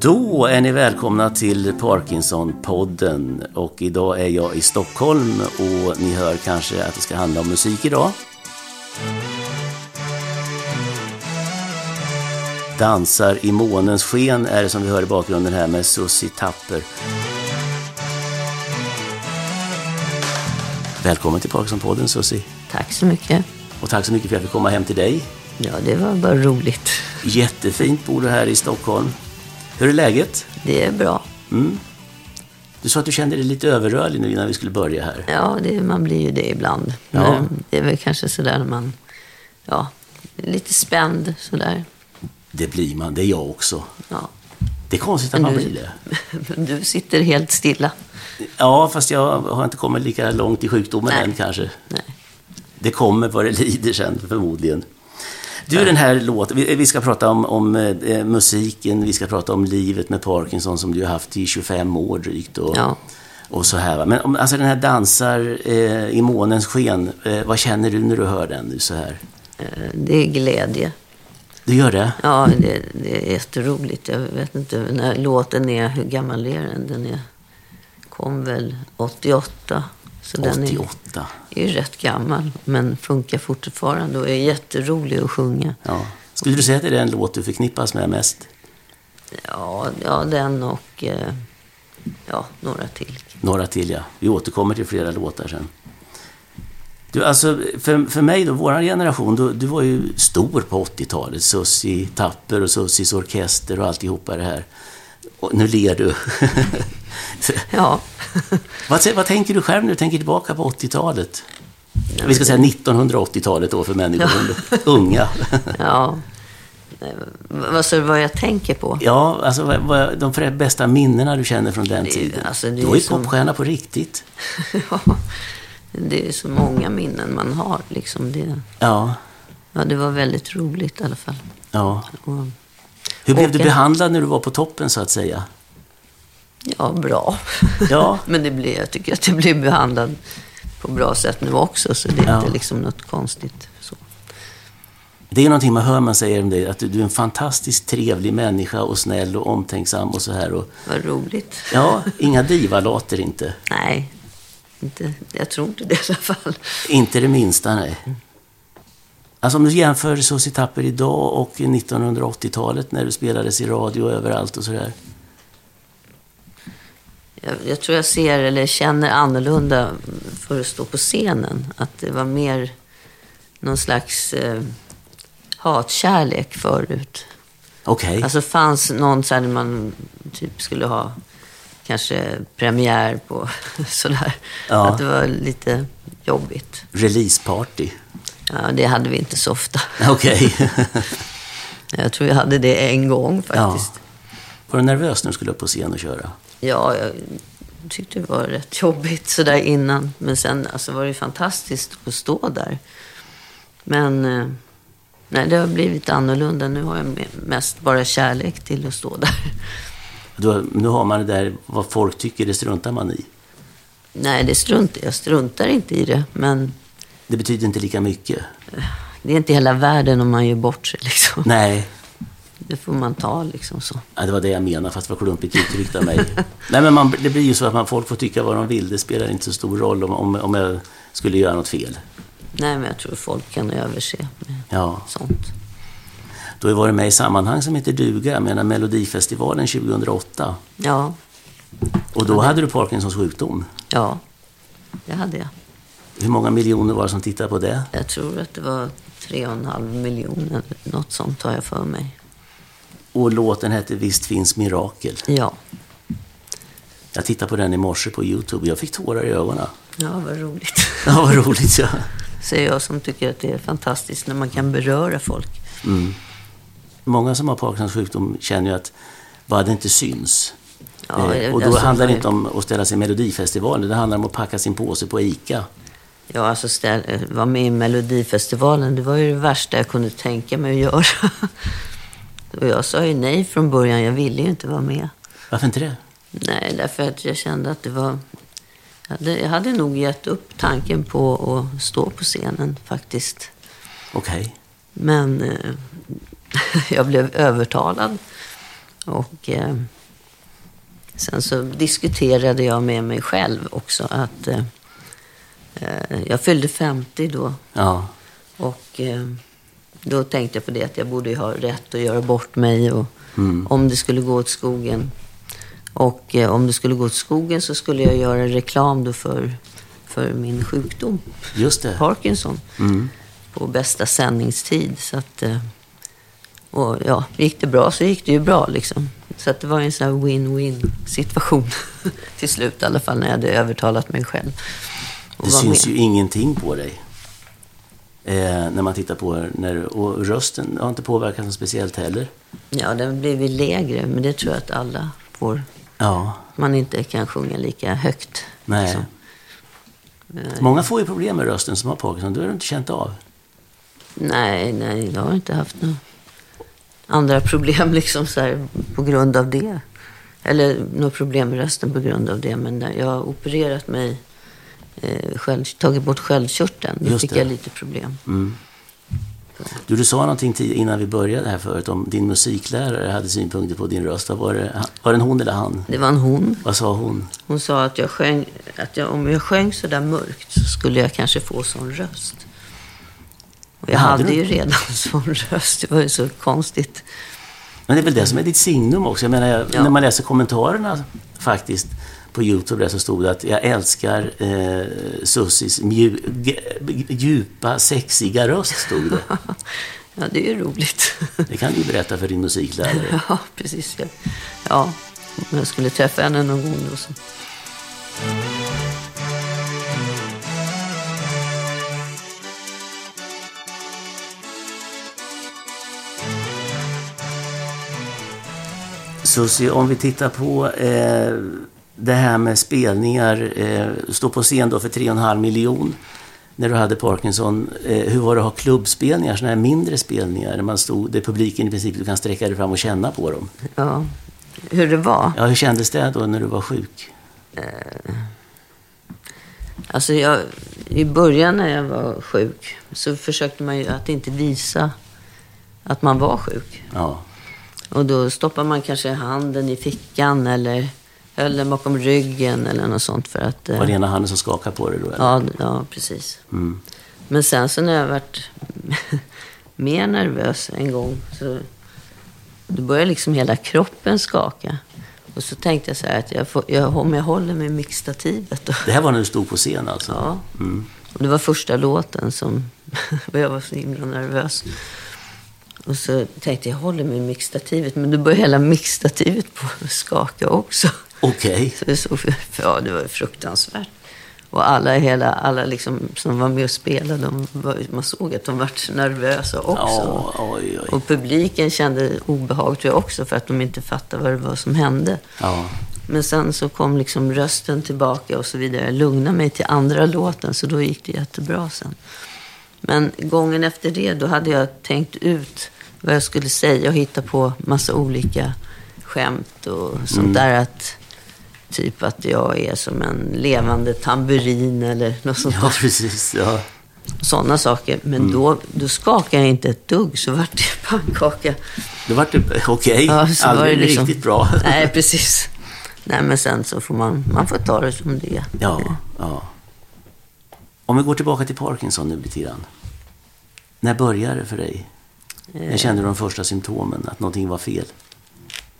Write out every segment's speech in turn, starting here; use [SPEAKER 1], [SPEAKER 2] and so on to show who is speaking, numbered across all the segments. [SPEAKER 1] Då är ni välkomna till Parkinson-podden och idag är jag i Stockholm och ni hör kanske att det ska handla om musik idag. Dansar i månens sken är det som vi hör i bakgrunden här med Susie Tapper. Välkommen till Parkinson-podden Susie
[SPEAKER 2] Tack så mycket.
[SPEAKER 1] och tack så mycket för att jag fick komma hem till dig.
[SPEAKER 2] Ja, det var bara roligt.
[SPEAKER 1] Jättefint bor du här i Stockholm. Hur är läget?
[SPEAKER 2] Det är bra.
[SPEAKER 1] Du sa att du kände dig lite överrörlig nu innan vi skulle börja här.
[SPEAKER 2] Ja, det, man blir ju det ibland.
[SPEAKER 1] Ja.
[SPEAKER 2] Men det är väl kanske sådär när man... Ja, är lite spänd sådär.
[SPEAKER 1] Det blir man, det är jag också.
[SPEAKER 2] Ja.
[SPEAKER 1] Det är konstigt att man
[SPEAKER 2] du-
[SPEAKER 1] blir det.
[SPEAKER 2] Men du sitter helt stilla.
[SPEAKER 1] Ja, fast jag har inte kommit lika långt i sjukdomen
[SPEAKER 2] Nej.
[SPEAKER 1] än kanske.
[SPEAKER 2] Nej.
[SPEAKER 1] Det kommer vad det lider sen förmodligen. Du, den här låten, vi, vi ska prata om, om eh, musiken, vi ska prata om livet med Parkinson som du har haft i 25 år drygt. Och,
[SPEAKER 2] Ja.
[SPEAKER 1] och så här. va. Men om, alltså den här Dansar eh, i månens sken, eh, vad känner du när du hör den nu så här?
[SPEAKER 2] Eh, Det är glädje.
[SPEAKER 1] Du gör det?
[SPEAKER 2] Ja, det, det är jätteroligt. Jag vet inte när låten är... Hur gammal är den? Den är, kom väl 88. Så den är,
[SPEAKER 1] 88.
[SPEAKER 2] är ju rätt gammal, men funkar fortfarande och är jätterolig att sjunga.
[SPEAKER 1] Ja. Skulle du säga att det är den låt du förknippas med mest?
[SPEAKER 2] Ja, ja den och eh, ja, några till.
[SPEAKER 1] Några till ja. Vi återkommer till flera låtar sen. Du, alltså, för, för mig då, vår generation, du, du var ju stor på 80-talet. Sussi Tapper och Sussis Orkester och alltihopa det här. Och nu ler du.
[SPEAKER 2] Ja,
[SPEAKER 1] vad, sä- vad tänker du själv när du tänker tillbaka på 80-talet? Vi ska säga 1980-talet då för människor unga.
[SPEAKER 2] ja. Nej, v- Vad så vad jag tänker på?
[SPEAKER 1] ja, alltså vad, vad, de för- bästa minnena du känner från den
[SPEAKER 2] är ju-
[SPEAKER 1] tiden.
[SPEAKER 2] alltså, det är
[SPEAKER 1] du var ju
[SPEAKER 2] ju som-
[SPEAKER 1] popstjärna på riktigt.
[SPEAKER 2] Ja, det är så många minnen man har. Liksom det.
[SPEAKER 1] Ja,
[SPEAKER 2] Ja, det var väldigt roligt i alla fall.
[SPEAKER 1] ja.
[SPEAKER 2] Och,
[SPEAKER 1] Hur blev
[SPEAKER 2] Och
[SPEAKER 1] du
[SPEAKER 2] en-
[SPEAKER 1] behandlad när du var på toppen så att säga?
[SPEAKER 2] ja, bra.
[SPEAKER 1] Ja.
[SPEAKER 2] Men det blev, jag tycker att det blev behandlad på bra sätt nu också, så det är
[SPEAKER 1] Ja.
[SPEAKER 2] inte liksom något konstigt. Så.
[SPEAKER 1] Det är någonting man hör man säger om dig, att du, du är en fantastiskt trevlig människa och snäll och omtänksam och så här. Och,
[SPEAKER 2] Vad roligt.
[SPEAKER 1] ja, inga divalater inte.
[SPEAKER 2] Nej, inte, jag tror inte det i alla fall.
[SPEAKER 1] Inte det minsta, nej. Alltså om du jämför Susie Tapper idag och 1980-talet när du spelades i radio överallt och sådär.
[SPEAKER 2] Jag, jag tror jag ser eller känner annorlunda för att stå på scenen. Att det var mer någon slags eh, hatkärlek förut.
[SPEAKER 1] Okej,
[SPEAKER 2] Alltså fanns någon så här när man typ skulle ha kanske premiär på sådär.
[SPEAKER 1] Ja.
[SPEAKER 2] Att det var lite jobbigt.
[SPEAKER 1] releaseparty.
[SPEAKER 2] Ja, det hade vi inte så ofta.
[SPEAKER 1] Okej.
[SPEAKER 2] Jag tror jag hade det en gång
[SPEAKER 1] ja.
[SPEAKER 2] faktiskt.
[SPEAKER 1] Var du nervös när du skulle upp på scen och köra?
[SPEAKER 2] Ja, jag tyckte det var rätt jobbigt sådär innan. Men sen alltså, var det ju fantastiskt att stå där. Men eh, nej, det har blivit annorlunda. Nu har jag me- mest bara kärlek till att stå där.
[SPEAKER 1] Du, nu har man det där, vad folk tycker, det struntar man i.
[SPEAKER 2] Nej, det struntar jag. struntar inte i det. Men
[SPEAKER 1] Det betyder inte lika mycket.
[SPEAKER 2] det är inte hela världen om man gör bort sig. Liksom.
[SPEAKER 1] Nej,
[SPEAKER 2] Det får man ta liksom så.
[SPEAKER 1] Ja, det var det jag menade, fast det var klumpigt uttryckt av mig. Nej, men man, det blir ju så att man, folk får tycka vad de vill. Det spelar inte så stor roll om, om, om jag skulle göra något fel.
[SPEAKER 2] Nej, men jag tror folk kan överse med
[SPEAKER 1] Ja,
[SPEAKER 2] sånt.
[SPEAKER 1] då har jag varit med i sammanhang som heter duga. Jag menar Melodifestivalen 2008.
[SPEAKER 2] Ja,
[SPEAKER 1] Och då hade du Parkinsons sjukdom.
[SPEAKER 2] ja, det hade jag.
[SPEAKER 1] Hur många miljoner var det som tittade på det?
[SPEAKER 2] Jag tror att det var 3,5 miljoner, något sånt har jag för mig.
[SPEAKER 1] Och låten hette Visst finns mirakel.
[SPEAKER 2] Ja,
[SPEAKER 1] Jag tittade på den i morse på YouTube. Jag fick tårar i ögonen.
[SPEAKER 2] Ja, vad roligt.
[SPEAKER 1] Ja, vad roligt. Ja.
[SPEAKER 2] Säger jag som tycker att det är fantastiskt när man kan beröra folk.
[SPEAKER 1] Många som har Parkinsons sjukdom känner ju att vad det inte syns.
[SPEAKER 2] Ja,
[SPEAKER 1] Eh, och då
[SPEAKER 2] alltså,
[SPEAKER 1] handlar det
[SPEAKER 2] vad-
[SPEAKER 1] inte om att ställa sig i Melodifestivalen, det handlar om att packa sin påse på ICA.
[SPEAKER 2] Ja, alltså ställ, eh, vara med i Melodifestivalen, det var ju det värsta jag kunde tänka mig att göra. Och jag sa ju nej från början, jag ville ju inte vara med.
[SPEAKER 1] Varför inte det?
[SPEAKER 2] Nej, därför att jag kände att det var... Jag hade, jag hade nog gett upp tanken på att stå på scenen faktiskt.
[SPEAKER 1] Okej.
[SPEAKER 2] Men eh, jag blev övertalad. Och eh, sen så diskuterade jag med mig själv också att... Eh, eh, jag fyllde 50 då
[SPEAKER 1] Ja.
[SPEAKER 2] och eh, då tänkte jag på det att jag borde ju ha rätt att göra bort mig och om det skulle gå åt skogen. Och eh, om det skulle gå åt skogen så skulle jag göra reklam då för, för min sjukdom,
[SPEAKER 1] Just det.
[SPEAKER 2] Parkinson,
[SPEAKER 1] Mm.
[SPEAKER 2] på bästa sändningstid. Så att, eh, och ja, gick det bra så gick det ju bra liksom. Så att det var ju en sån här win-win situation till slut i alla fall när jag hade övertalat mig själv. att
[SPEAKER 1] Det
[SPEAKER 2] vara
[SPEAKER 1] syns
[SPEAKER 2] med.
[SPEAKER 1] ju ingenting på dig. Eh, när man tittar på när, Och rösten har inte påverkat något speciellt heller.
[SPEAKER 2] Ja, den blir väl lägre, men det tror jag att alla får.
[SPEAKER 1] Ja.
[SPEAKER 2] Man inte kan sjunga lika högt.
[SPEAKER 1] Nej. Eh.
[SPEAKER 2] liksom.
[SPEAKER 1] Många får ju problem med rösten som har Parkinson. Då har du inte känt av.
[SPEAKER 2] Nej, nej, jag har inte haft några andra problem liksom så här, på grund av det. Eller några problem med rösten på grund av det. Men när jag har opererat mig, eh, själv, tagit bort sköldkörteln. Då
[SPEAKER 1] Just
[SPEAKER 2] fick
[SPEAKER 1] det. Mm.
[SPEAKER 2] jag lite problem.
[SPEAKER 1] Du, du sa någonting tid- innan vi började här förut om din musiklärare hade synpunkter på din röst. Vad Var det, var det en hon eller han?
[SPEAKER 2] Det var en hon.
[SPEAKER 1] Vad sa hon?
[SPEAKER 2] Hon sa att, jag sjöng, att jag, om jag sjöng så där mörkt så skulle jag kanske få sån röst. Och jag
[SPEAKER 1] Hade
[SPEAKER 2] hade,
[SPEAKER 1] du?
[SPEAKER 2] ju redan sån röst. Det var ju så konstigt.
[SPEAKER 1] Men det är väl det som är ditt signum också. Jag menar, jag,
[SPEAKER 2] Ja.
[SPEAKER 1] när man läser kommentarerna faktiskt på Youtube där så stod det att jag älskar eh, Sussis mju, g, g- djupa, sexiga röst. Stod det.
[SPEAKER 2] Ja, det är ju roligt.
[SPEAKER 1] det kan du ju berätta för din musiklärare.
[SPEAKER 2] ja, precis. Ja. ja, om jag skulle träffa henne någon gång då så.
[SPEAKER 1] Sussi, om vi tittar på eh, det här med spelningar. Eh, stå på scen då för 3,5 miljon när du hade Parkinson. Eh, hur var det att ha klubbspelningar, sådana här mindre spelningar? Där, man stod, där publiken i princip, du kan sträcka dig fram och känna på dem.
[SPEAKER 2] Ja, hur det var.
[SPEAKER 1] Ja, hur kändes det då när du var sjuk?
[SPEAKER 2] Alltså jag, I början när jag var sjuk så försökte man ju att inte visa att man var sjuk.
[SPEAKER 1] Ja,
[SPEAKER 2] Och då stoppar man kanske handen i fickan eller höll den bakom ryggen eller något sånt för att... eh,
[SPEAKER 1] var det ena handen som skakade på dig då? eller?
[SPEAKER 2] ja, ja, precis. Men sen så när jag varit mer nervös en gång så då började liksom hela kroppen skaka. Och så tänkte jag så här att jag får, jag, om jag håller mig i mixtativet då.
[SPEAKER 1] Det här var när du stod på scen alltså?
[SPEAKER 2] Ja. Och det var första låten som... och jag var så himla nervös. Och så tänkte jag, jag håller mig i mixtativet. Men då började hela mixtativet på att skaka också.
[SPEAKER 1] Okej.
[SPEAKER 2] Så det, såg, för- ja, det var fruktansvärt. Och alla, i hela, alla liksom, som var med och spelade, de var, man såg att de var nervösa också.
[SPEAKER 1] Ja, oj, oj.
[SPEAKER 2] Och publiken kände obehag tror jag också för att de inte fattade vad det var som hände.
[SPEAKER 1] Ja.
[SPEAKER 2] Men sen så kom liksom rösten tillbaka och så vidare. Jag lugnade mig till andra låten, så då gick det jättebra sen. Men gången efter det, då hade jag tänkt ut vad jag skulle säga och hitta på massa olika skämt och sånt där.
[SPEAKER 1] Mm.
[SPEAKER 2] att Typ att jag är som en levande tamburin eller något sånt
[SPEAKER 1] ja, Mm. precis. Ja.
[SPEAKER 2] Sådana saker. Men då, då skakade jag inte ett dugg, så vart det pannkaka.
[SPEAKER 1] Då vart det okej.
[SPEAKER 2] Ja, så var det
[SPEAKER 1] Aldrig
[SPEAKER 2] liksom...
[SPEAKER 1] riktigt bra.
[SPEAKER 2] Nej, precis. Nej, men sen så får man, man får ta det som det är.
[SPEAKER 1] Ja, ja. Om vi går tillbaka till Parkinson nu lite grann. När började det för dig? När kände du de första symptomen, att någonting var fel?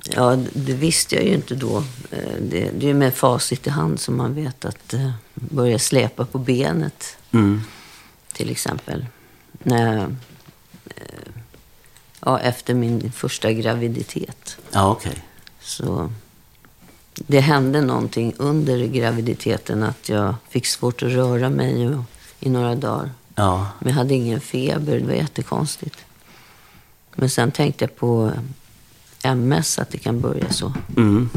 [SPEAKER 2] Ja, det visste jag ju inte då. Eh, Det, det är ju med facit i hand som man vet att eh, börja släpa på benet, till exempel. När, jag, eh, ja, efter min första graviditet.
[SPEAKER 1] Ja, okej.
[SPEAKER 2] Så det hände någonting under graviditeten att jag fick svårt att röra mig och, i några dagar.
[SPEAKER 1] Ja,
[SPEAKER 2] Men jag hade ingen feber, det var jättekonstigt. Men sen tänkte jag på MS, att det kan börja så.
[SPEAKER 1] mm.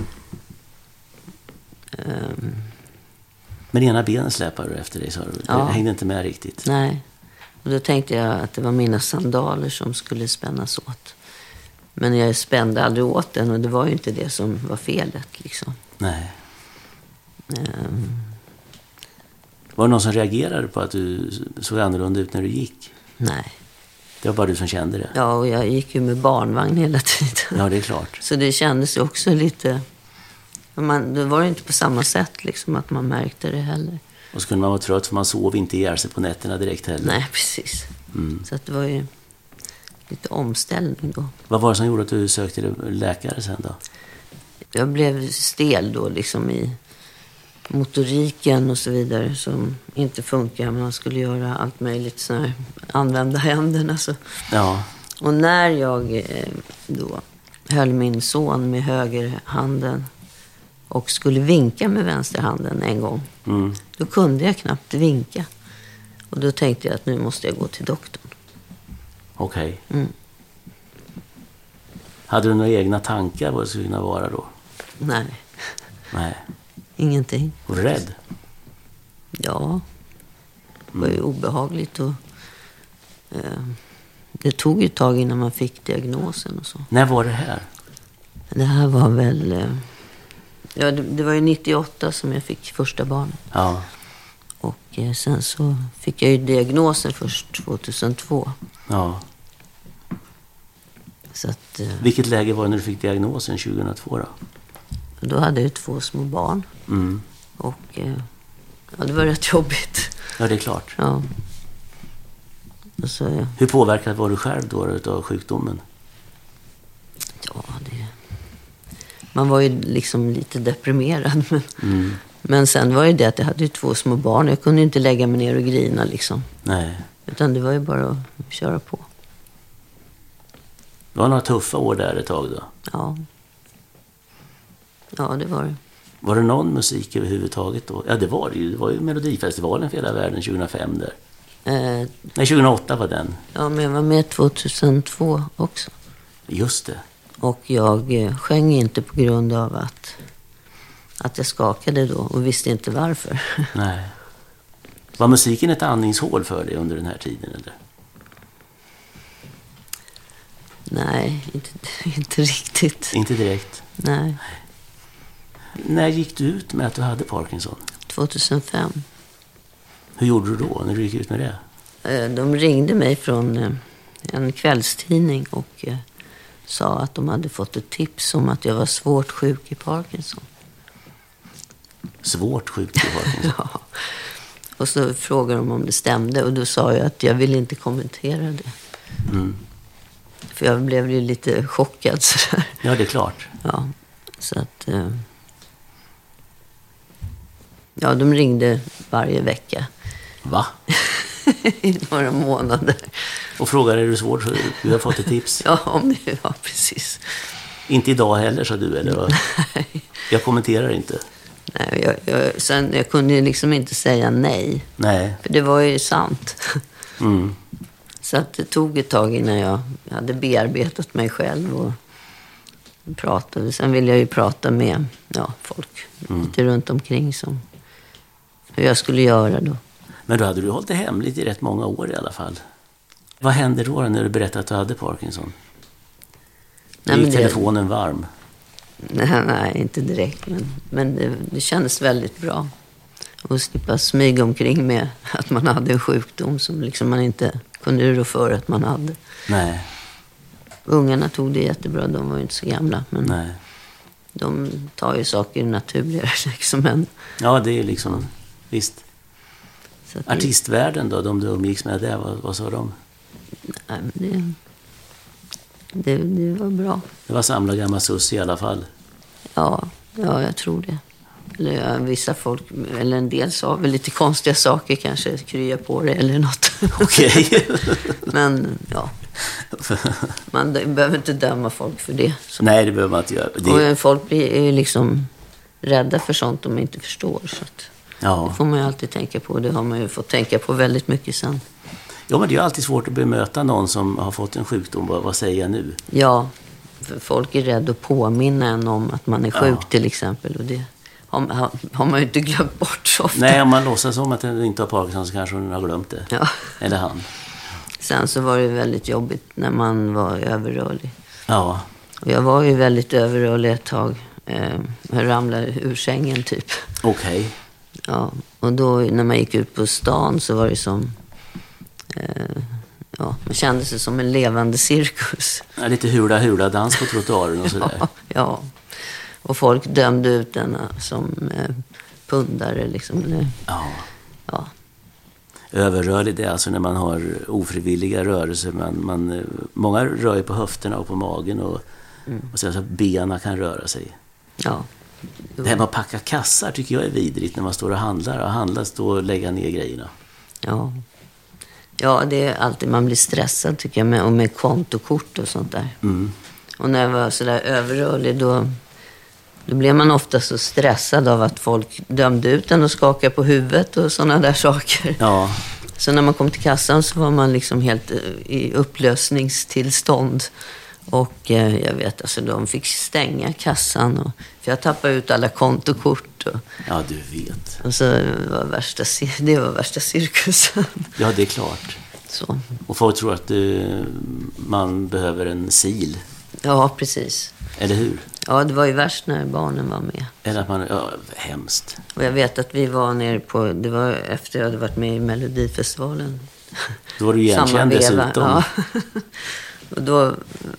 [SPEAKER 2] Ehm,
[SPEAKER 1] Men ena benen släpade du efter dig, sa du.
[SPEAKER 2] Ja.
[SPEAKER 1] Det hängde inte med riktigt.
[SPEAKER 2] nej. Och då tänkte jag att det var mina sandaler som skulle spännas åt. Men jag spände aldrig åt den och det var ju inte det som var felet. Liksom.
[SPEAKER 1] Nej.
[SPEAKER 2] Ehm,
[SPEAKER 1] Var det någon som reagerade på att du såg annorlunda ut när du gick?
[SPEAKER 2] nej.
[SPEAKER 1] Det var bara du som kände det?
[SPEAKER 2] Ja, och jag gick ju med barnvagn hela tiden.
[SPEAKER 1] Ja, det är klart.
[SPEAKER 2] Så det kändes ju också lite... Man, det var ju inte på samma sätt liksom, att man märkte det heller.
[SPEAKER 1] Och så kunde man vara trött för man sov inte ihjäl sig på nätterna direkt heller. Mm.
[SPEAKER 2] Nej, precis. Så att det var ju lite omställning då.
[SPEAKER 1] Vad var det som gjorde att du sökte läkare sen då?
[SPEAKER 2] Jag blev stel då liksom i motoriken och så vidare som inte funkar. Man skulle göra allt möjligt, så här, använda händerna. Så.
[SPEAKER 1] Ja,
[SPEAKER 2] Och när jag eh, då höll min son med högerhanden och skulle vinka med vänsterhanden en gång,
[SPEAKER 1] mm.
[SPEAKER 2] då kunde jag knappt vinka. Och då tänkte jag att nu måste jag gå till doktorn.
[SPEAKER 1] okej.
[SPEAKER 2] Mm.
[SPEAKER 1] Hade du några egna tankar vad det skulle kunna vara då?
[SPEAKER 2] Nej,
[SPEAKER 1] Nej.
[SPEAKER 2] ingenting.
[SPEAKER 1] Var du rädd?
[SPEAKER 2] Ja, det var ju obehagligt och eh, det tog ju ett tag innan man fick diagnosen och så.
[SPEAKER 1] När var det här?
[SPEAKER 2] Det här var väl, eh, ja det, det var ju 98 som jag fick första barnet
[SPEAKER 1] Ja,
[SPEAKER 2] och eh, sen så fick jag ju diagnosen först 2002.
[SPEAKER 1] ja.
[SPEAKER 2] Så att eh,
[SPEAKER 1] Vilket läge var det när du fick diagnosen 2002 då?
[SPEAKER 2] då hade jag ju två små barn
[SPEAKER 1] Mm.
[SPEAKER 2] och eh, ja, det var rätt jobbigt.
[SPEAKER 1] Ja, det är klart.
[SPEAKER 2] Ja. Och så, eh,
[SPEAKER 1] Hur påverkad var du själv då utav sjukdomen?
[SPEAKER 2] Ja, det... Man var ju liksom lite deprimerad. Men,
[SPEAKER 1] Mm.
[SPEAKER 2] men sen var ju det att jag hade ju två små barn. Jag kunde ju inte lägga mig ner och grina liksom.
[SPEAKER 1] Nej.
[SPEAKER 2] Utan det var ju bara att köra på.
[SPEAKER 1] Det var några tuffa år där ett tag då.
[SPEAKER 2] Ja. Ja, det var det.
[SPEAKER 1] Var det någon musik överhuvudtaget då? Ja, det var det ju. Det var ju Melodifestivalen för hela världen 2005 där.
[SPEAKER 2] Eh,
[SPEAKER 1] Nej, 2008 var den.
[SPEAKER 2] ja, men jag var med 2002 också.
[SPEAKER 1] Just det.
[SPEAKER 2] Och jag eh, sjöng inte på grund av att, att jag skakade då och visste inte varför.
[SPEAKER 1] Nej. Var musiken ett andningshål för dig under den här tiden eller?
[SPEAKER 2] Nej, inte, inte riktigt.
[SPEAKER 1] Inte direkt.
[SPEAKER 2] Nej,
[SPEAKER 1] När gick du ut med att du hade Parkinson?
[SPEAKER 2] 2005.
[SPEAKER 1] Hur gjorde du då, när du gick ut med det?
[SPEAKER 2] Eh, De ringde mig från eh, en kvällstidning och eh, sa att de hade fått ett tips om att jag var svårt sjuk i Parkinson.
[SPEAKER 1] Svårt sjuk i Parkinson.
[SPEAKER 2] Ja. Och så frågade de om det stämde och då sa jag att jag ville inte kommentera det.
[SPEAKER 1] Mm.
[SPEAKER 2] För jag blev ju lite chockad sådär.
[SPEAKER 1] Ja, det är klart.
[SPEAKER 2] Ja, så att... eh, Ja, de ringde varje vecka
[SPEAKER 1] Va?
[SPEAKER 2] i några månader.
[SPEAKER 1] Och frågar är du svårt sjuk? Du har fått ett tips.
[SPEAKER 2] Ja, om det var precis.
[SPEAKER 1] Inte idag heller, sa du, eller vad? Jag kommenterar inte.
[SPEAKER 2] Nej, jag, jag, sen, jag kunde ju liksom inte säga nej,
[SPEAKER 1] Nej.
[SPEAKER 2] för det var ju sant.
[SPEAKER 1] Mm.
[SPEAKER 2] Så att det tog ett tag innan jag hade bearbetat mig själv och pratade. Sen ville jag ju prata med ja, folk lite runt omkring som hur jag skulle göra då.
[SPEAKER 1] Men då hade du hållit det hemligt i rätt många år i alla fall. Vad hände då när du berättade att du hade Parkinson? Då
[SPEAKER 2] Nej, men
[SPEAKER 1] gick
[SPEAKER 2] det-
[SPEAKER 1] telefonen varm.
[SPEAKER 2] Nej, nej inte direkt. Men, men det, det kändes väldigt bra. Att slippa smyga omkring med att man hade en sjukdom som liksom man inte kunde rå för att man hade.
[SPEAKER 1] Nej,
[SPEAKER 2] Ungarna tog det jättebra, de var ju inte så gamla. Men
[SPEAKER 1] nej.
[SPEAKER 2] de tar ju saker naturligare liksom än...
[SPEAKER 1] Ja, det är liksom... Visst.
[SPEAKER 2] Så att det,
[SPEAKER 1] Artistvärlden då, de du umgicks med där, vad, vad sa de?
[SPEAKER 2] nej, men det, det, det var bra.
[SPEAKER 1] Det var samla gammal sus i alla fall.
[SPEAKER 2] Ja, ja, jag tror det. Eller ja, vissa folk, eller en del sa väl lite konstiga saker kanske, krya på det eller något.
[SPEAKER 1] Okej.
[SPEAKER 2] Men ja, man d- behöver inte döma folk för det. eh,
[SPEAKER 1] Nej, det behöver man inte göra. Det,
[SPEAKER 2] Och folk blir är ju liksom rädda för sånt de inte förstår. Så att,
[SPEAKER 1] Ja.
[SPEAKER 2] Det får man ju alltid tänka på. Det har man ju fått tänka på väldigt mycket sen.
[SPEAKER 1] ja, men det är ju alltid svårt att bemöta någon som har fått en sjukdom. Vad, vad säger jag nu?
[SPEAKER 2] Ja, för folk är rädda att påminna en om att man är sjuk
[SPEAKER 1] Ja.
[SPEAKER 2] till exempel. Och det har, har, har man ju inte glömt bort så ofta.
[SPEAKER 1] Nej, om man låtsas som att den inte har Parkinson så kanske hon har glömt det.
[SPEAKER 2] Ja.
[SPEAKER 1] Eller han.
[SPEAKER 2] Sen så var det väldigt jobbigt när man var överrörlig.
[SPEAKER 1] Ja,
[SPEAKER 2] Och jag var ju väldigt överrörlig ett tag. Eh, Jag ramlade ur sängen typ.
[SPEAKER 1] okej.
[SPEAKER 2] Ja, och då när man gick ut på stan så var det som... Eh, ja, man kände sig som en levande cirkus.
[SPEAKER 1] Ja, Lite hula-hula-dans på trottoaren och sådär.
[SPEAKER 2] Ja, ja. Och folk dömde ut en eh, som eh, pundare liksom. Eller,
[SPEAKER 1] Ja.
[SPEAKER 2] ja.
[SPEAKER 1] Överrörlig, det är alltså när man har ofrivilliga rörelser. Man, man, eh, många rör ju på höfterna och på magen och, och sen så att benen kan röra sig.
[SPEAKER 2] ja. Jo.
[SPEAKER 1] Det här med att packa kassar tycker jag är vidrigt när man står och handlar. Och handlar, stå och lägga ner grejerna.
[SPEAKER 2] Ja. ja, det är alltid man blir stressad tycker jag. Med, och med kontokort och sånt där.
[SPEAKER 1] Mm.
[SPEAKER 2] Och när jag var sådär överrörlig då, då blev man ofta så stressad av att folk dömde ut en och skakade på huvudet och sådana där saker.
[SPEAKER 1] Ja,
[SPEAKER 2] Så när man kom till kassan så var man liksom helt eh, i upplösningstillstånd. Och eh, jag vet, alltså de fick stänga kassan. Och, för jag tappade ut alla kontokort. Och,
[SPEAKER 1] ja du vet.
[SPEAKER 2] och så var värsta, cir- det var värsta cirkusen.
[SPEAKER 1] Ja, det är klart.
[SPEAKER 2] Så.
[SPEAKER 1] Och folk tror att eh, man behöver en sil,
[SPEAKER 2] Ja, precis.
[SPEAKER 1] eller hur?
[SPEAKER 2] Ja, det var ju värst när barnen var med.
[SPEAKER 1] Eller att man, ja, hemskt.
[SPEAKER 2] Och jag vet att vi var nere på, det var efter jag hade varit med i Melodifestivalen.
[SPEAKER 1] Då var du igenkänd dessutom.
[SPEAKER 2] Ja. Och då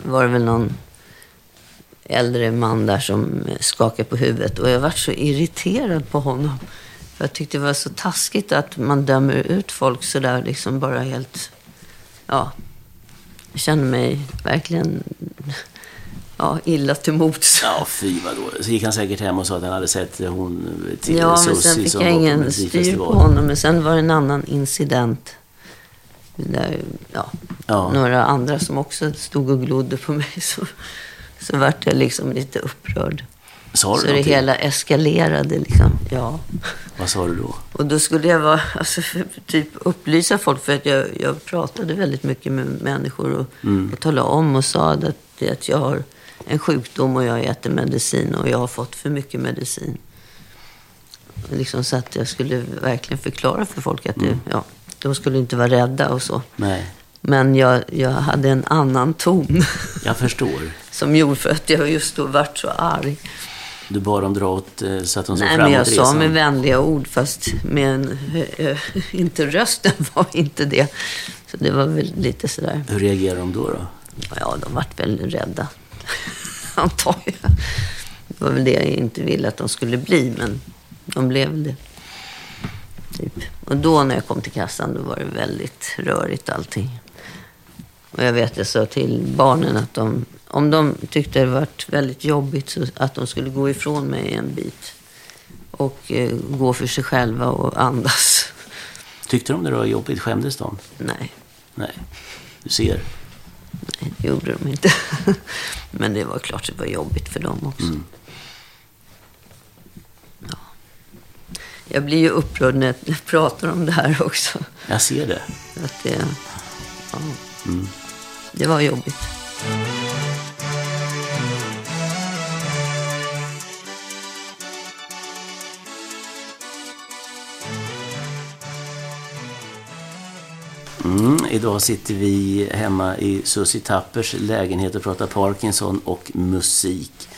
[SPEAKER 2] var det väl någon äldre man där som skakade på huvudet. Och jag vart så irriterad på honom. För jag tyckte det var så taskigt att man dömer ut folk sådär liksom bara helt... Ja. Jag kände mig verkligen ja, illa till mods.
[SPEAKER 1] Ja, fy vad då. Så gick han säkert hem och sa att han hade sett hon eh, till
[SPEAKER 2] Ja, men
[SPEAKER 1] Susie
[SPEAKER 2] sen fick
[SPEAKER 1] som var
[SPEAKER 2] jag
[SPEAKER 1] på
[SPEAKER 2] ingen styr på
[SPEAKER 1] Melodifestivalen.
[SPEAKER 2] honom. Men sen var det en annan incident. Där, ja,
[SPEAKER 1] Ja.
[SPEAKER 2] Några andra som också stod och glodde på mig. Så, så vart jag liksom lite upprörd.
[SPEAKER 1] Sa du
[SPEAKER 2] så det
[SPEAKER 1] någonting?
[SPEAKER 2] hela eskalerade liksom. Ja.
[SPEAKER 1] Vad sa du då?
[SPEAKER 2] Och då skulle jag vara, alltså, typ upplysa folk. För att jag, jag pratade väldigt mycket med människor och,
[SPEAKER 1] Mm.
[SPEAKER 2] och talade om och sa att, det- att jag har en sjukdom och jag äter medicin och jag har fått för mycket medicin. Liksom så att jag skulle verkligen förklara för folk att det,
[SPEAKER 1] Mm.
[SPEAKER 2] ja, de skulle inte vara rädda och så.
[SPEAKER 1] Nej,
[SPEAKER 2] Men jag, jag hade en annan ton
[SPEAKER 1] jag förstår.
[SPEAKER 2] som gjorde för att jag just då vart så arg.
[SPEAKER 1] Du bad dem dra åt eh, så att de såg
[SPEAKER 2] Nej,
[SPEAKER 1] framåt
[SPEAKER 2] men jag sa
[SPEAKER 1] resan.
[SPEAKER 2] med vänliga ord fast med en, eh, inte rösten var inte det. Så det var väl lite sådär,
[SPEAKER 1] Hur reagerar de då? då?
[SPEAKER 2] ja de vart väl rädda. Antar jag. Det var väl det jag inte ville att de skulle bli, men de blev väl det. Typ. Och då när jag kom till kassan då var det väldigt rörigt allting. Och jag vet, jag sa till barnen att de, om de tyckte det varit väldigt jobbigt så att de skulle gå ifrån mig en bit. Och eh, gå för sig själva och andas.
[SPEAKER 1] Tyckte de det var jobbigt? Skämdes de?
[SPEAKER 2] Nej,
[SPEAKER 1] Nej, du ser.
[SPEAKER 2] nej, det gjorde de inte. Men det var klart det var jobbigt för dem också.
[SPEAKER 1] Mm.
[SPEAKER 2] Ja. Jag blir ju upprörd när jag pratar om det här också.
[SPEAKER 1] Jag ser det.
[SPEAKER 2] Att det, ja.
[SPEAKER 1] Mm.
[SPEAKER 2] det var jobbigt.
[SPEAKER 1] Mm, idag sitter vi hemma i Susie Tappers lägenhet och pratar Parkinson och musik.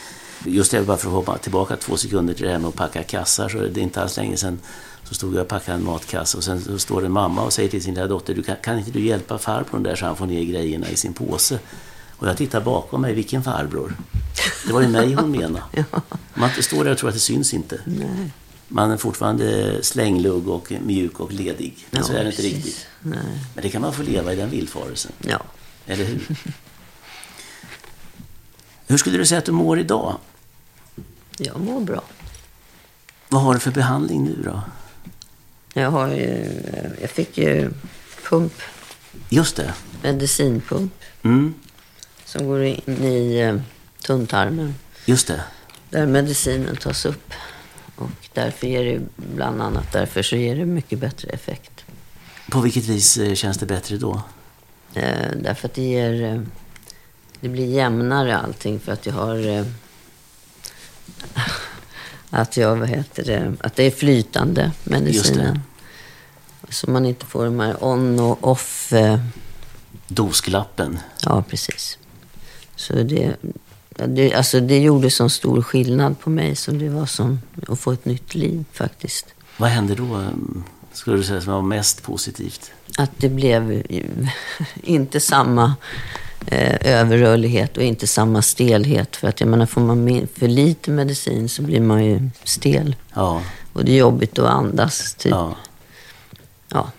[SPEAKER 1] Just det, bara för att hoppa tillbaka två sekunder till det här med att packa kassar. Så det är inte alls länge sedan så stod jag och packade en matkasse och sen så står det en mamma och säger till sin lilla dotter, du kan, kan inte du hjälpa farbrorn där så han får ner grejerna i sin påse? Och jag tittar bakom mig, vilken farbror? Det var ju mig hon menade. Man står där och tror att det syns inte.
[SPEAKER 2] Nej.
[SPEAKER 1] Man är fortfarande slänglugg och mjuk och ledig. Men så
[SPEAKER 2] Ja,
[SPEAKER 1] är det inte
[SPEAKER 2] precis.
[SPEAKER 1] riktigt.
[SPEAKER 2] Nej.
[SPEAKER 1] Men det kan man få leva i den villfarelsen,
[SPEAKER 2] Ja.
[SPEAKER 1] eller hur? hur skulle du säga att du mår idag?
[SPEAKER 2] Jag mår bra.
[SPEAKER 1] Vad har du för behandling nu då?
[SPEAKER 2] Jag, har ju, jag fick ju pump,
[SPEAKER 1] Just det.
[SPEAKER 2] medicinpump
[SPEAKER 1] Mm,
[SPEAKER 2] som går in i eh, tunntarmen
[SPEAKER 1] just det.
[SPEAKER 2] där medicinen tas upp. Och därför ger det, bland annat därför så ger det mycket bättre effekt.
[SPEAKER 1] På vilket vis eh, känns det bättre då?
[SPEAKER 2] Eh, därför att det ger... Eh, det blir jämnare allting för att jag har... Eh, att jag, vad heter det, att det är flytande medicinen. Så man inte får de här on och off... Eh,
[SPEAKER 1] Dosklappen.
[SPEAKER 2] ja, precis. Så det... ja, Det, alltså det gjorde sån stor skillnad på mig som det var som att få ett nytt liv faktiskt.
[SPEAKER 1] Vad hände då, mm, skulle du säga, som var mest positivt?
[SPEAKER 2] att det blev ju inte samma eh, överrörlighet och inte samma stelhet. För att jag menar, får man min- för lite medicin så blir man ju stel.
[SPEAKER 1] Ja,
[SPEAKER 2] Och det är jobbigt att andas, typ. Ja,
[SPEAKER 1] ja.
[SPEAKER 2] ja,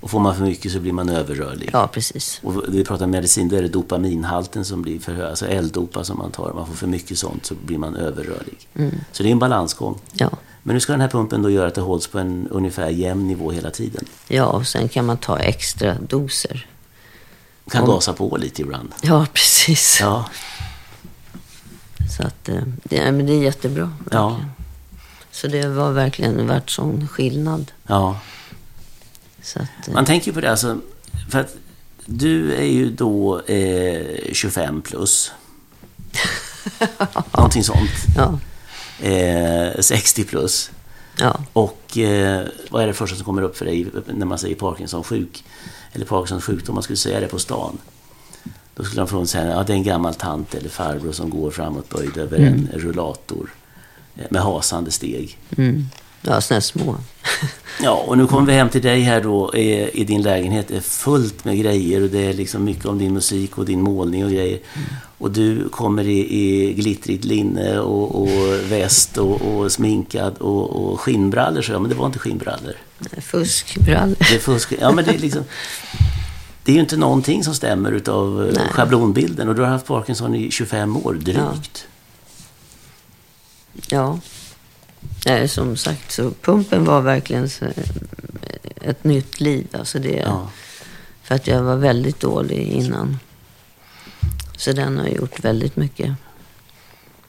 [SPEAKER 1] Och får man för mycket så blir man överrörlig.
[SPEAKER 2] precis.
[SPEAKER 1] Och vi pratar medicin, då är det dopaminhalten som blir för hög. Alltså L-dopa som man tar. Man får för mycket sånt så blir man överrörlig. Så det är en balansgång.
[SPEAKER 2] Ja.
[SPEAKER 1] Men nu ska den här pumpen då göra att det hålls på en ungefär jämn nivå hela tiden.
[SPEAKER 2] ja, och sen kan man ta extra doser.
[SPEAKER 1] Kan
[SPEAKER 2] Om-
[SPEAKER 1] gasa på lite ibland.
[SPEAKER 2] Ja, precis.
[SPEAKER 1] Ja,
[SPEAKER 2] Så att, eh, det, nej, men det är jättebra.
[SPEAKER 1] ja,
[SPEAKER 2] verkligen. Så det var verkligen vart sån skillnad.
[SPEAKER 1] ja.
[SPEAKER 2] Så att, eh,
[SPEAKER 1] Man tänker ju på det alltså. För att du är ju då eh, 25 plus. Någonting sånt.
[SPEAKER 2] ja,
[SPEAKER 1] Eh, 60 plus.
[SPEAKER 2] ja,
[SPEAKER 1] Och eh, vad är det första som kommer upp för dig när man säger Parkinson sjuk? Eller Parkinsons sjukdom, om man skulle säga det på stan. Då skulle de fråga säga, ja det är en gammal tant eller farbror som går framåtböjd över en rullator. eh, Med hasande steg.
[SPEAKER 2] ja såna här små.
[SPEAKER 1] Ja, och nu kommer vi hem till dig här då eh, i din lägenhet. Det är fullt med grejer och det är liksom mycket om din musik och din målning och grejer. Och du kommer i, i glittrigt linne och, och väst och, och sminkad och, och skinnbrallor, så jag, men det var inte skinnbrallor.
[SPEAKER 2] Fuskbrallor.
[SPEAKER 1] Det är fusk. Ja, men det är liksom... Det är ju inte någonting som stämmer utav eh,
[SPEAKER 2] Nej.
[SPEAKER 1] schablonbilden och du har haft Parkinson i 25 år drygt.
[SPEAKER 2] Ja. Nej, som sagt, så pumpen var verkligen så, ett nytt liv. Alltså det,
[SPEAKER 1] Ja.
[SPEAKER 2] För att jag var väldigt dålig innan. Så den har gjort väldigt mycket.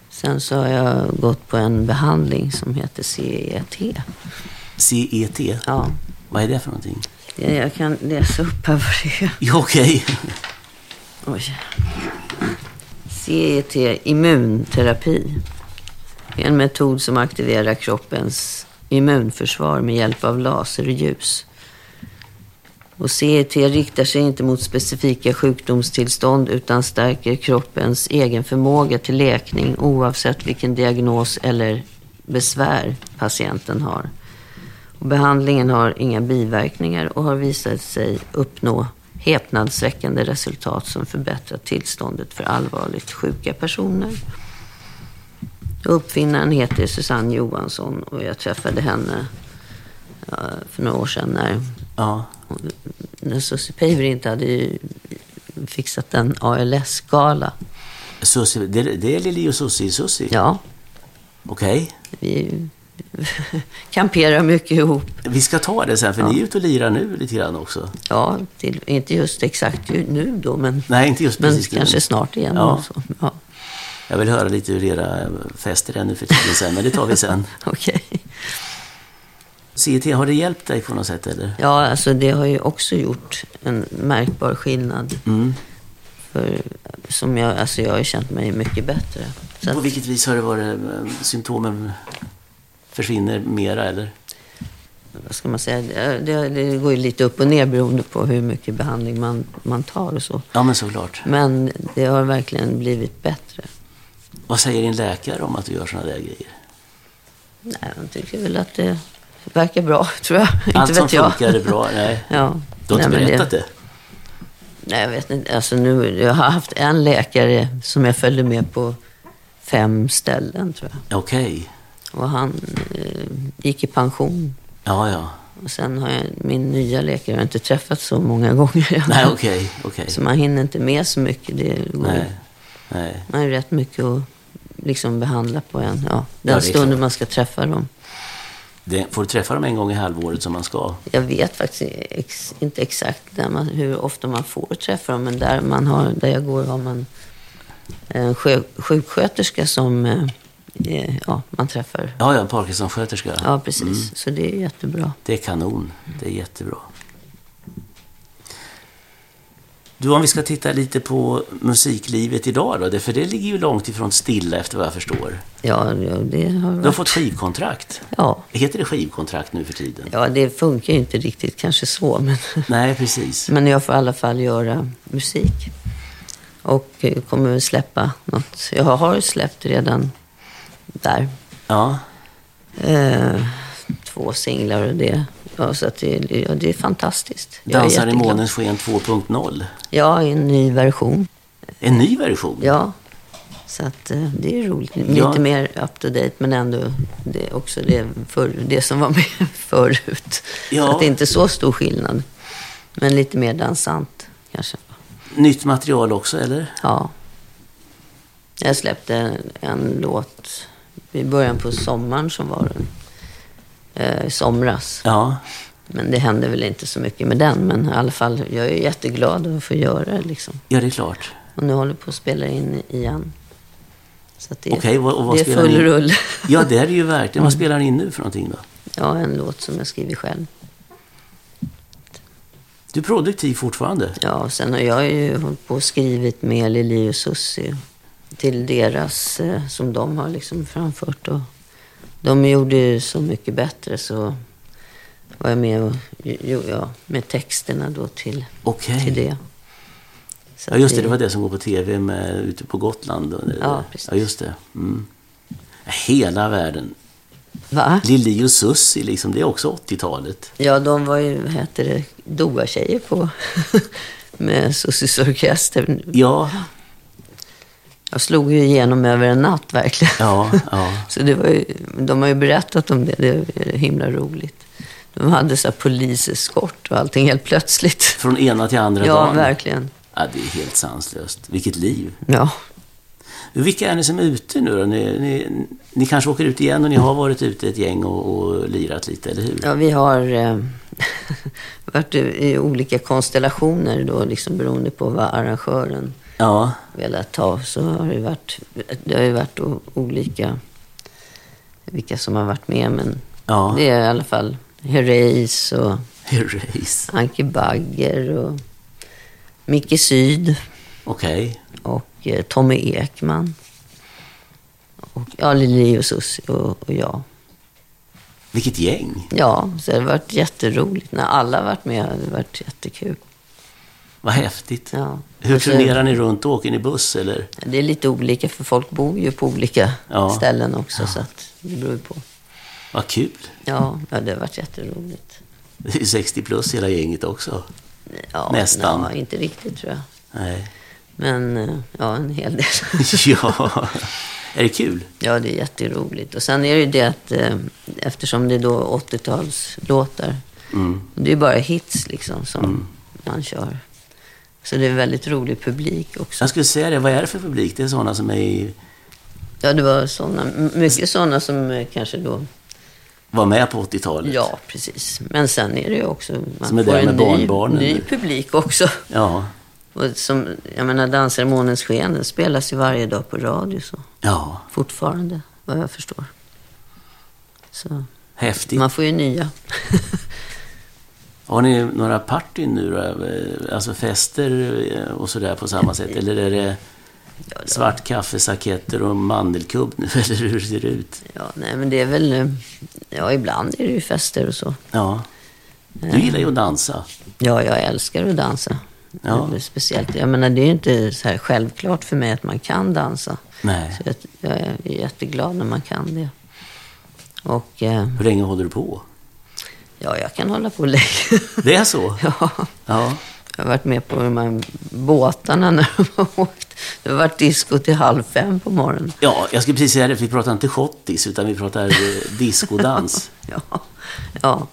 [SPEAKER 2] Sen så har jag gått på en behandling som heter CET.
[SPEAKER 1] CET,
[SPEAKER 2] Ja,
[SPEAKER 1] E vad är det för någonting?
[SPEAKER 2] jag jag kan läsa upp här vad det är.
[SPEAKER 1] Ja, okej.
[SPEAKER 2] Oj. CET, immunterapi. Det är en metod som aktiverar kroppens immunförsvar med hjälp av laser och ljus. Och CET riktar sig inte mot specifika sjukdomstillstånd utan stärker kroppens egen förmåga till läkning oavsett vilken diagnos eller besvär patienten har. Och behandlingen har inga biverkningar och har visat sig uppnå häpnadsväckande resultat som förbättrar tillståndet för allvarligt sjuka personer. Uppfinnaren heter Susanne Johansson och jag träffade henne ja, för några år sedan när,
[SPEAKER 1] Ja,
[SPEAKER 2] när Susie Paver inte hade ju fixat en ALS-gala.
[SPEAKER 1] Sussi, det, det är Lili och Sussi i Sussi?
[SPEAKER 2] Ja,
[SPEAKER 1] Okej.
[SPEAKER 2] vi kamperar mycket ihop.
[SPEAKER 1] Vi ska ta det sen, för ni är ute och lirar nu lite grann också.
[SPEAKER 2] Ja, till, inte just exakt ju- nu då, men
[SPEAKER 1] Nej, inte just
[SPEAKER 2] Men
[SPEAKER 1] precis nu.
[SPEAKER 2] kanske snart igen.
[SPEAKER 1] Ja.
[SPEAKER 2] och så. Ja,
[SPEAKER 1] Jag vill höra lite hur era eh, fester är nu för tiden sen, men det tar vi sen.
[SPEAKER 2] okej.
[SPEAKER 1] CET, har det hjälpt dig på något sätt eller?
[SPEAKER 2] ja, alltså det har ju också gjort en märkbar skillnad. För, som jag, alltså jag har ju känt mig mycket bättre. Så
[SPEAKER 1] På
[SPEAKER 2] att,
[SPEAKER 1] vilket vis har det varit, eh, symptomen försvinner mera eller?
[SPEAKER 2] vad ska man säga? Det, det, det går ju lite upp och ner beroende på hur mycket behandling man, man tar och så.
[SPEAKER 1] Ja, men såklart.
[SPEAKER 2] Men det har verkligen blivit bättre.
[SPEAKER 1] Vad säger din läkare om att du gör såna där grejer?
[SPEAKER 2] Nej, jag tycker väl att det verkar bra, tror jag.
[SPEAKER 1] Allt
[SPEAKER 2] inte
[SPEAKER 1] som
[SPEAKER 2] vet jag.
[SPEAKER 1] funkar är bra. Nej.
[SPEAKER 2] Ja.
[SPEAKER 1] Du har
[SPEAKER 2] Nej,
[SPEAKER 1] inte
[SPEAKER 2] men
[SPEAKER 1] berättat det?
[SPEAKER 2] Nej, jag vet inte. Alltså nu, jag har haft en läkare som jag följde med på fem ställen, tror jag.
[SPEAKER 1] Okej.
[SPEAKER 2] Och han eh, gick i pension.
[SPEAKER 1] Ja, ja.
[SPEAKER 2] Och sen har jag, min nya läkare har jag inte träffat så många gånger. än.
[SPEAKER 1] Nej, okej. okej.
[SPEAKER 2] Så man hinner inte med så mycket. Det går,
[SPEAKER 1] Nej. Nej.
[SPEAKER 2] Man har ju rätt mycket att liksom behandla på en. Ja,
[SPEAKER 1] det
[SPEAKER 2] den
[SPEAKER 1] är
[SPEAKER 2] stunden
[SPEAKER 1] klart.
[SPEAKER 2] man ska träffa dem.
[SPEAKER 1] Det, får du träffa dem en gång i halvåret som man ska?
[SPEAKER 2] Jag vet faktiskt ex, inte exakt när man, hur ofta man får träffa dem, men där, man har, där jag går har man en sjö, sjuksköterska som eh, eh, ja, man träffar.
[SPEAKER 1] Ja, ja, Parkinson-sköterska.
[SPEAKER 2] Ja, precis.
[SPEAKER 1] Mm.
[SPEAKER 2] Så det är jättebra.
[SPEAKER 1] Det är kanon. Det är jättebra. Du, om vi ska titta lite på musiklivet idag då? Det, för det ligger ju långt ifrån stilla efter vad jag förstår.
[SPEAKER 2] Ja, ja, det har
[SPEAKER 1] Du har
[SPEAKER 2] varit...
[SPEAKER 1] fått skivkontrakt.
[SPEAKER 2] Ja.
[SPEAKER 1] Heter det skivkontrakt nu för tiden?
[SPEAKER 2] ja, det funkar ju inte riktigt kanske så, men,
[SPEAKER 1] Nej, precis.
[SPEAKER 2] men jag får i alla fall göra musik. Och eh, kommer väl släppa något. Jag har släppt redan där.
[SPEAKER 1] Ja,
[SPEAKER 2] Eh, två singlar och det. Ja, så att det, ja, det är fantastiskt. Jag är
[SPEAKER 1] Dansar i
[SPEAKER 2] jätteglad.
[SPEAKER 1] månens sken 2.0.
[SPEAKER 2] Ja, i en ny version.
[SPEAKER 1] En ny version?
[SPEAKER 2] Ja, så att eh, det är roligt. Lite
[SPEAKER 1] Ja.
[SPEAKER 2] mer up to date, men ändå det är också det, för, det som var med förut.
[SPEAKER 1] Ja.
[SPEAKER 2] Så att det är inte så stor skillnad. Men lite mer dansant kanske.
[SPEAKER 1] Nytt material också, eller?
[SPEAKER 2] Ja. Jag släppte en, en låt i början på sommaren som var den. Eh, i somras.
[SPEAKER 1] Ja.
[SPEAKER 2] Men det hände väl inte så mycket med den. Men i alla fall, jag är jätteglad att få göra det liksom.
[SPEAKER 1] Ja, det är klart.
[SPEAKER 2] Och nu håller vi på att spela in igen. Så att det, är-
[SPEAKER 1] Okej, och- och vad
[SPEAKER 2] det är
[SPEAKER 1] spelar
[SPEAKER 2] full
[SPEAKER 1] ni?
[SPEAKER 2] rull.
[SPEAKER 1] Ja, det är det ju verkligen.
[SPEAKER 2] Mm.
[SPEAKER 1] Vad spelar ni in nu för någonting då?
[SPEAKER 2] ja, en låt som jag skriver själv.
[SPEAKER 1] Du är produktiv fortfarande?
[SPEAKER 2] Ja, och sen har jag ju hållit på och skrivit med Lili och Susie till deras, eh, som de har liksom framfört. Och de gjorde ju Så mycket bättre så var jag med, och, jo, ja, med texterna då till, till
[SPEAKER 1] Okej.
[SPEAKER 2] det. Så
[SPEAKER 1] Ja,
[SPEAKER 2] att
[SPEAKER 1] just det. Det var det som går på tv med, ute på Gotland. och-
[SPEAKER 2] Ja, precis.
[SPEAKER 1] ja just det. Mm. Hela världen.
[SPEAKER 2] Va?
[SPEAKER 1] Lili och Susie, liksom, det är också 80-talet.
[SPEAKER 2] Ja, de var ju, vad heter det, doa-tjejer på med Sussies orkester.
[SPEAKER 1] Ja,
[SPEAKER 2] Jag slog ju igenom över en natt verkligen.
[SPEAKER 1] ja, ja.
[SPEAKER 2] Så det var ju, de har ju berättat om det, det är himla roligt. De hade så här poliseskort och allting helt plötsligt.
[SPEAKER 1] Från ena till andra
[SPEAKER 2] Ja,
[SPEAKER 1] dagen.
[SPEAKER 2] verkligen.
[SPEAKER 1] Ja, det är helt sanslöst. Vilket liv.
[SPEAKER 2] Ja.
[SPEAKER 1] Vilka är ni som är ute nu då? Ni, ni, ni kanske åker ut igen och ni har varit ute ett gäng och, och lirat lite, eller hur?
[SPEAKER 2] ja, vi har eh, varit i olika konstellationer då, liksom beroende på vad arrangören
[SPEAKER 1] Ja,
[SPEAKER 2] velat ta så har det varit, det har ju varit o- olika vilka som har varit med. Men
[SPEAKER 1] ja.
[SPEAKER 2] det är i alla fall Herreys och
[SPEAKER 1] Race.
[SPEAKER 2] Anke Bagger och Micke Syd
[SPEAKER 1] Okej.
[SPEAKER 2] och eh, Tommy Ekman. Och ja, Lili och Susie och, och jag.
[SPEAKER 1] Vilket gäng.
[SPEAKER 2] Ja, så det har varit jätteroligt. När alla har varit med har det varit jättekul.
[SPEAKER 1] Vad häftigt.
[SPEAKER 2] Ja.
[SPEAKER 1] Hur
[SPEAKER 2] Och så-
[SPEAKER 1] turnerar ni runt? Åker ni buss eller?
[SPEAKER 2] Det är lite olika för folk bor ju på olika
[SPEAKER 1] Ja.
[SPEAKER 2] ställen också så att det beror ju på.
[SPEAKER 1] Vad kul.
[SPEAKER 2] Ja, ja, det har varit jätteroligt.
[SPEAKER 1] Det är ju 60 plus hela gänget också.
[SPEAKER 2] Ja,
[SPEAKER 1] Nästan.
[SPEAKER 2] nej, inte riktigt tror jag.
[SPEAKER 1] Nej.
[SPEAKER 2] Men eh, ja, en hel del.
[SPEAKER 1] Ja. Är det kul?
[SPEAKER 2] ja, det är jätteroligt. Och sen är det ju det att eh, eftersom det är då 80-talslåtar.
[SPEAKER 1] Mm.
[SPEAKER 2] och Det är bara hits liksom som man kör. Så det är en väldigt rolig publik också.
[SPEAKER 1] Jag skulle säga det. Vad är det för publik? Det är sådana som är i,
[SPEAKER 2] Ja, det var såna, m- mycket sådana som eh, kanske då...
[SPEAKER 1] var med på 80-talet.
[SPEAKER 2] Ja, precis. Men sen är det ju också... Man
[SPEAKER 1] Som är
[SPEAKER 2] får
[SPEAKER 1] där med
[SPEAKER 2] en ny,
[SPEAKER 1] barnbarnen.
[SPEAKER 2] ny publik också.
[SPEAKER 1] Ja.
[SPEAKER 2] Och som, jag menar, Dansar i månens sken den spelas ju varje dag på radio. Så.
[SPEAKER 1] Ja.
[SPEAKER 2] fortfarande, vad jag förstår. Så
[SPEAKER 1] Häftigt.
[SPEAKER 2] man får ju nya.
[SPEAKER 1] Har ni några partyn nu då? Eh, Alltså fester eh, och sådär på samma sätt? Eller är det svart kaffe, saketter och mandelkubb nu? Eller hur ser det ut?
[SPEAKER 2] Ja, nej, men det är väl... eh, Ja, ibland är det ju fester och så.
[SPEAKER 1] Ja. Du gillar ju att dansa.
[SPEAKER 2] Ja, jag älskar att dansa.
[SPEAKER 1] Ja.
[SPEAKER 2] Det är Speciellt. Jag menar, det är ju inte så här självklart för mig att man kan dansa.
[SPEAKER 1] Nej.
[SPEAKER 2] Så jag, jag är jätteglad när man kan det. Och eh,
[SPEAKER 1] Hur länge håller du på?
[SPEAKER 2] ja, jag kan hålla på länge.
[SPEAKER 1] Det är så?
[SPEAKER 2] ja.
[SPEAKER 1] Ja.
[SPEAKER 2] Jag har varit med på de här båtarna när de har åkt. Det har varit disco till halv fem på morgonen.
[SPEAKER 1] Ja, jag skulle precis säga det, för vi pratar inte schottis, utan vi pratar eh, diskodans.
[SPEAKER 2] Ja, ja.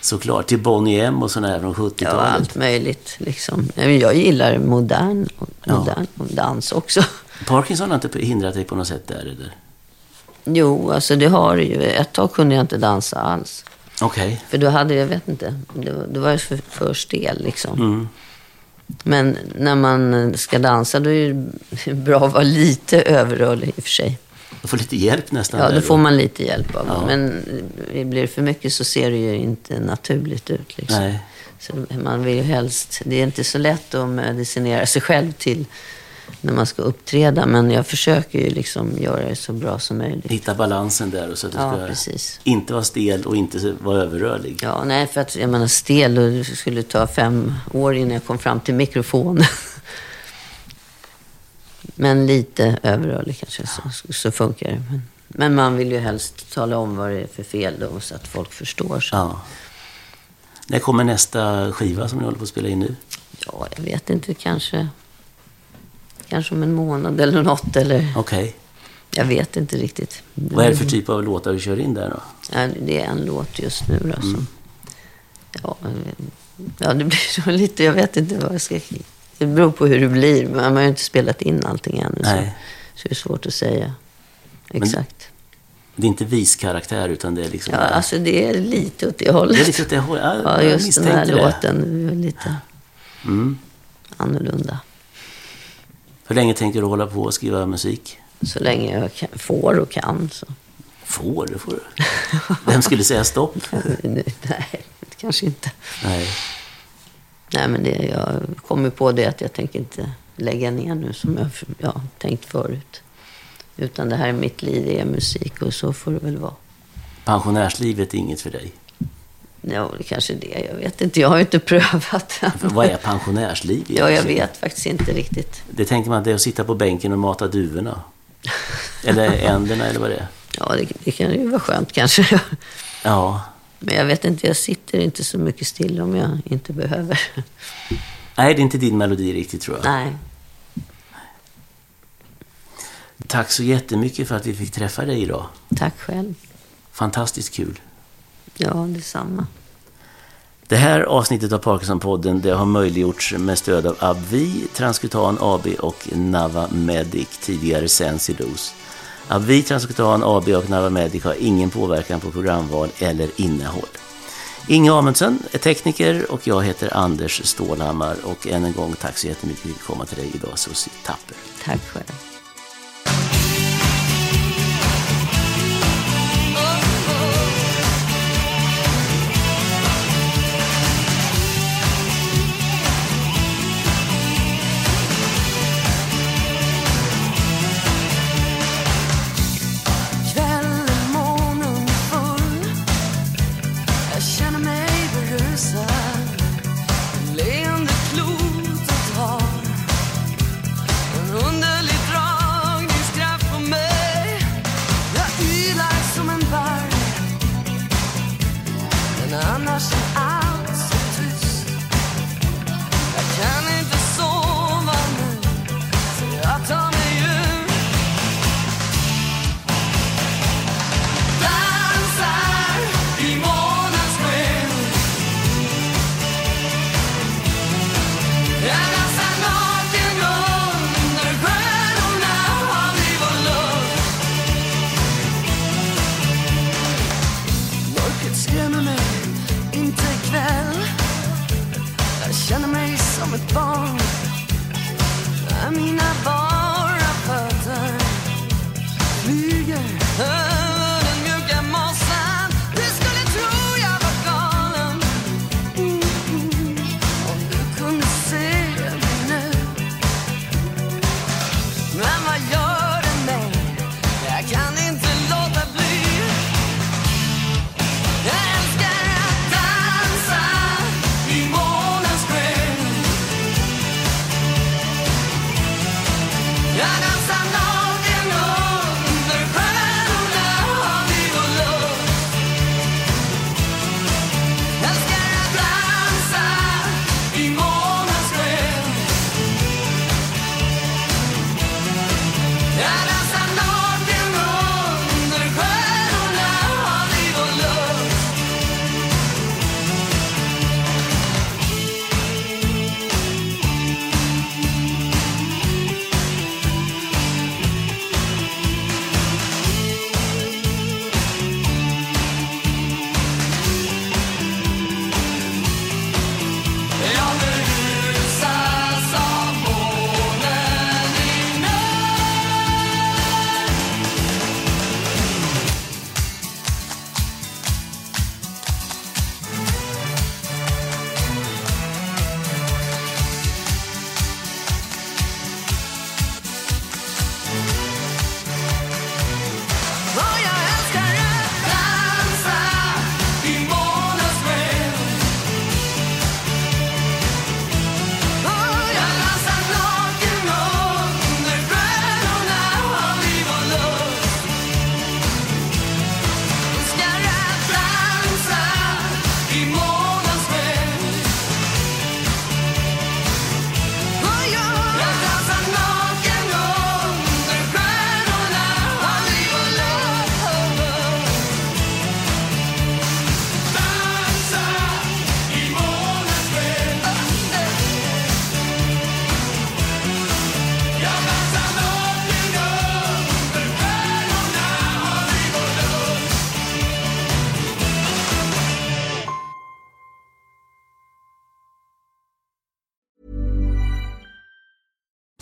[SPEAKER 1] Såklart, till Bonnie M och sådana här från
[SPEAKER 2] Ja,
[SPEAKER 1] 70-talet.
[SPEAKER 2] allt möjligt. Liksom. Nej, men Jag gillar modern, modern dans också.
[SPEAKER 1] Parkinson har inte hindrat dig på något sätt där, eller?
[SPEAKER 2] Jo, alltså det har det ju. Ett tag kunde jag inte dansa alls.
[SPEAKER 1] Okej.
[SPEAKER 2] För då hade jag, jag vet inte, det var, det var jag för, för stel liksom. Men när man ska dansa då är det bra att vara lite överrörlig i och för sig.
[SPEAKER 1] Man får lite hjälp nästan.
[SPEAKER 2] Ja,
[SPEAKER 1] där
[SPEAKER 2] då
[SPEAKER 1] då.
[SPEAKER 2] får man lite hjälp av
[SPEAKER 1] Ja.
[SPEAKER 2] Men blir det för mycket så ser det ju inte naturligt ut. Liksom.
[SPEAKER 1] Nej.
[SPEAKER 2] Så man vill ju helst, det är inte så lätt att medicinera sig själv till när man ska uppträda. Men jag försöker ju liksom göra det så bra som möjligt.
[SPEAKER 1] Hitta balansen där och så att du
[SPEAKER 2] Ja,
[SPEAKER 1] ska
[SPEAKER 2] precis.
[SPEAKER 1] inte vara stel och inte vara överrörlig.
[SPEAKER 2] Ja, nej, för att jag menar stel och det skulle ta fem år innan jag kom fram till mikrofonen. Men lite överrörlig kanske så, så funkar det. Men, men man vill ju helst tala om vad det är för fel då så att folk förstår. Så.
[SPEAKER 1] Ja. När kommer nästa skiva som ni håller på att spela in nu?
[SPEAKER 2] Ja, jag vet inte, kanske, kanske om en månad eller något. Eller,
[SPEAKER 1] Okej.
[SPEAKER 2] jag vet inte riktigt.
[SPEAKER 1] Vad är det för typ av låtar du kör in där då?
[SPEAKER 2] Ja, det är en låt just nu då, som,
[SPEAKER 1] Mm.
[SPEAKER 2] ja, eh, ja, det blir så lite, jag vet inte vad jag ska... Det beror på hur det blir. men Man har ju inte spelat in allting ännu. Så,
[SPEAKER 1] Nej.
[SPEAKER 2] så det är svårt att säga
[SPEAKER 1] det-
[SPEAKER 2] exakt.
[SPEAKER 1] Det är inte viskaraktär utan det är liksom...
[SPEAKER 2] ja, alltså det är lite åt det hållet.
[SPEAKER 1] det är lite åt det hållet. Ja,
[SPEAKER 2] ja,
[SPEAKER 1] jag
[SPEAKER 2] just den
[SPEAKER 1] misstänkte
[SPEAKER 2] här
[SPEAKER 1] det.
[SPEAKER 2] låten är lite
[SPEAKER 1] Mm.
[SPEAKER 2] annorlunda.
[SPEAKER 1] Hur länge tänker du hålla på och skriva musik?
[SPEAKER 2] Så länge jag kan, får och kan. Så.
[SPEAKER 1] Får du, får du. Vem skulle säga stopp?
[SPEAKER 2] Nej, kanske inte.
[SPEAKER 1] Nej.
[SPEAKER 2] Nej, men det, jag kom ju på det att jag tänker inte lägga ner nu som jag ja, tänkt förut. Utan det här är mitt liv, det är musik och så får det väl vara.
[SPEAKER 1] Pensionärslivet är inget för dig.
[SPEAKER 2] Ja, det kanske är det. Jag vet inte. Jag har ju inte prövat
[SPEAKER 1] För
[SPEAKER 2] än.
[SPEAKER 1] vad är pensionärsliv
[SPEAKER 2] Ja, jag
[SPEAKER 1] egentligen?
[SPEAKER 2] vet faktiskt inte riktigt.
[SPEAKER 1] Det tänker man att det är att sitta på bänken och mata duvorna. Eller änderna eller vad det är.
[SPEAKER 2] Ja, det, det kan ju vara skönt kanske.
[SPEAKER 1] Ja.
[SPEAKER 2] Men jag vet inte, jag sitter inte så mycket still om jag inte behöver.
[SPEAKER 1] Nej, det är inte din melodi riktigt tror jag.
[SPEAKER 2] Nej,
[SPEAKER 1] Tack så jättemycket för att vi fick träffa dig idag.
[SPEAKER 2] tack själv.
[SPEAKER 1] Fantastiskt kul.
[SPEAKER 2] Ja, detsamma.
[SPEAKER 1] Det här avsnittet av Parkinsonpodden det har möjliggjorts med stöd av Abvi, Transkutan AB och Navamedic, tidigare Sensidos. Abvi, Transkutan AB och Navamedic har ingen påverkan på programval eller innehåll. Inge Amundsen är tekniker och jag heter Anders Stålhammar och än en gång tack så jättemycket för att vi fick komma till dig idag, Susie Tapper.
[SPEAKER 2] Tack själv.
[SPEAKER 3] Kvällen, månen full Jag känner mig berusad Leende klotet har En underlig drag Mm-hmm. oh,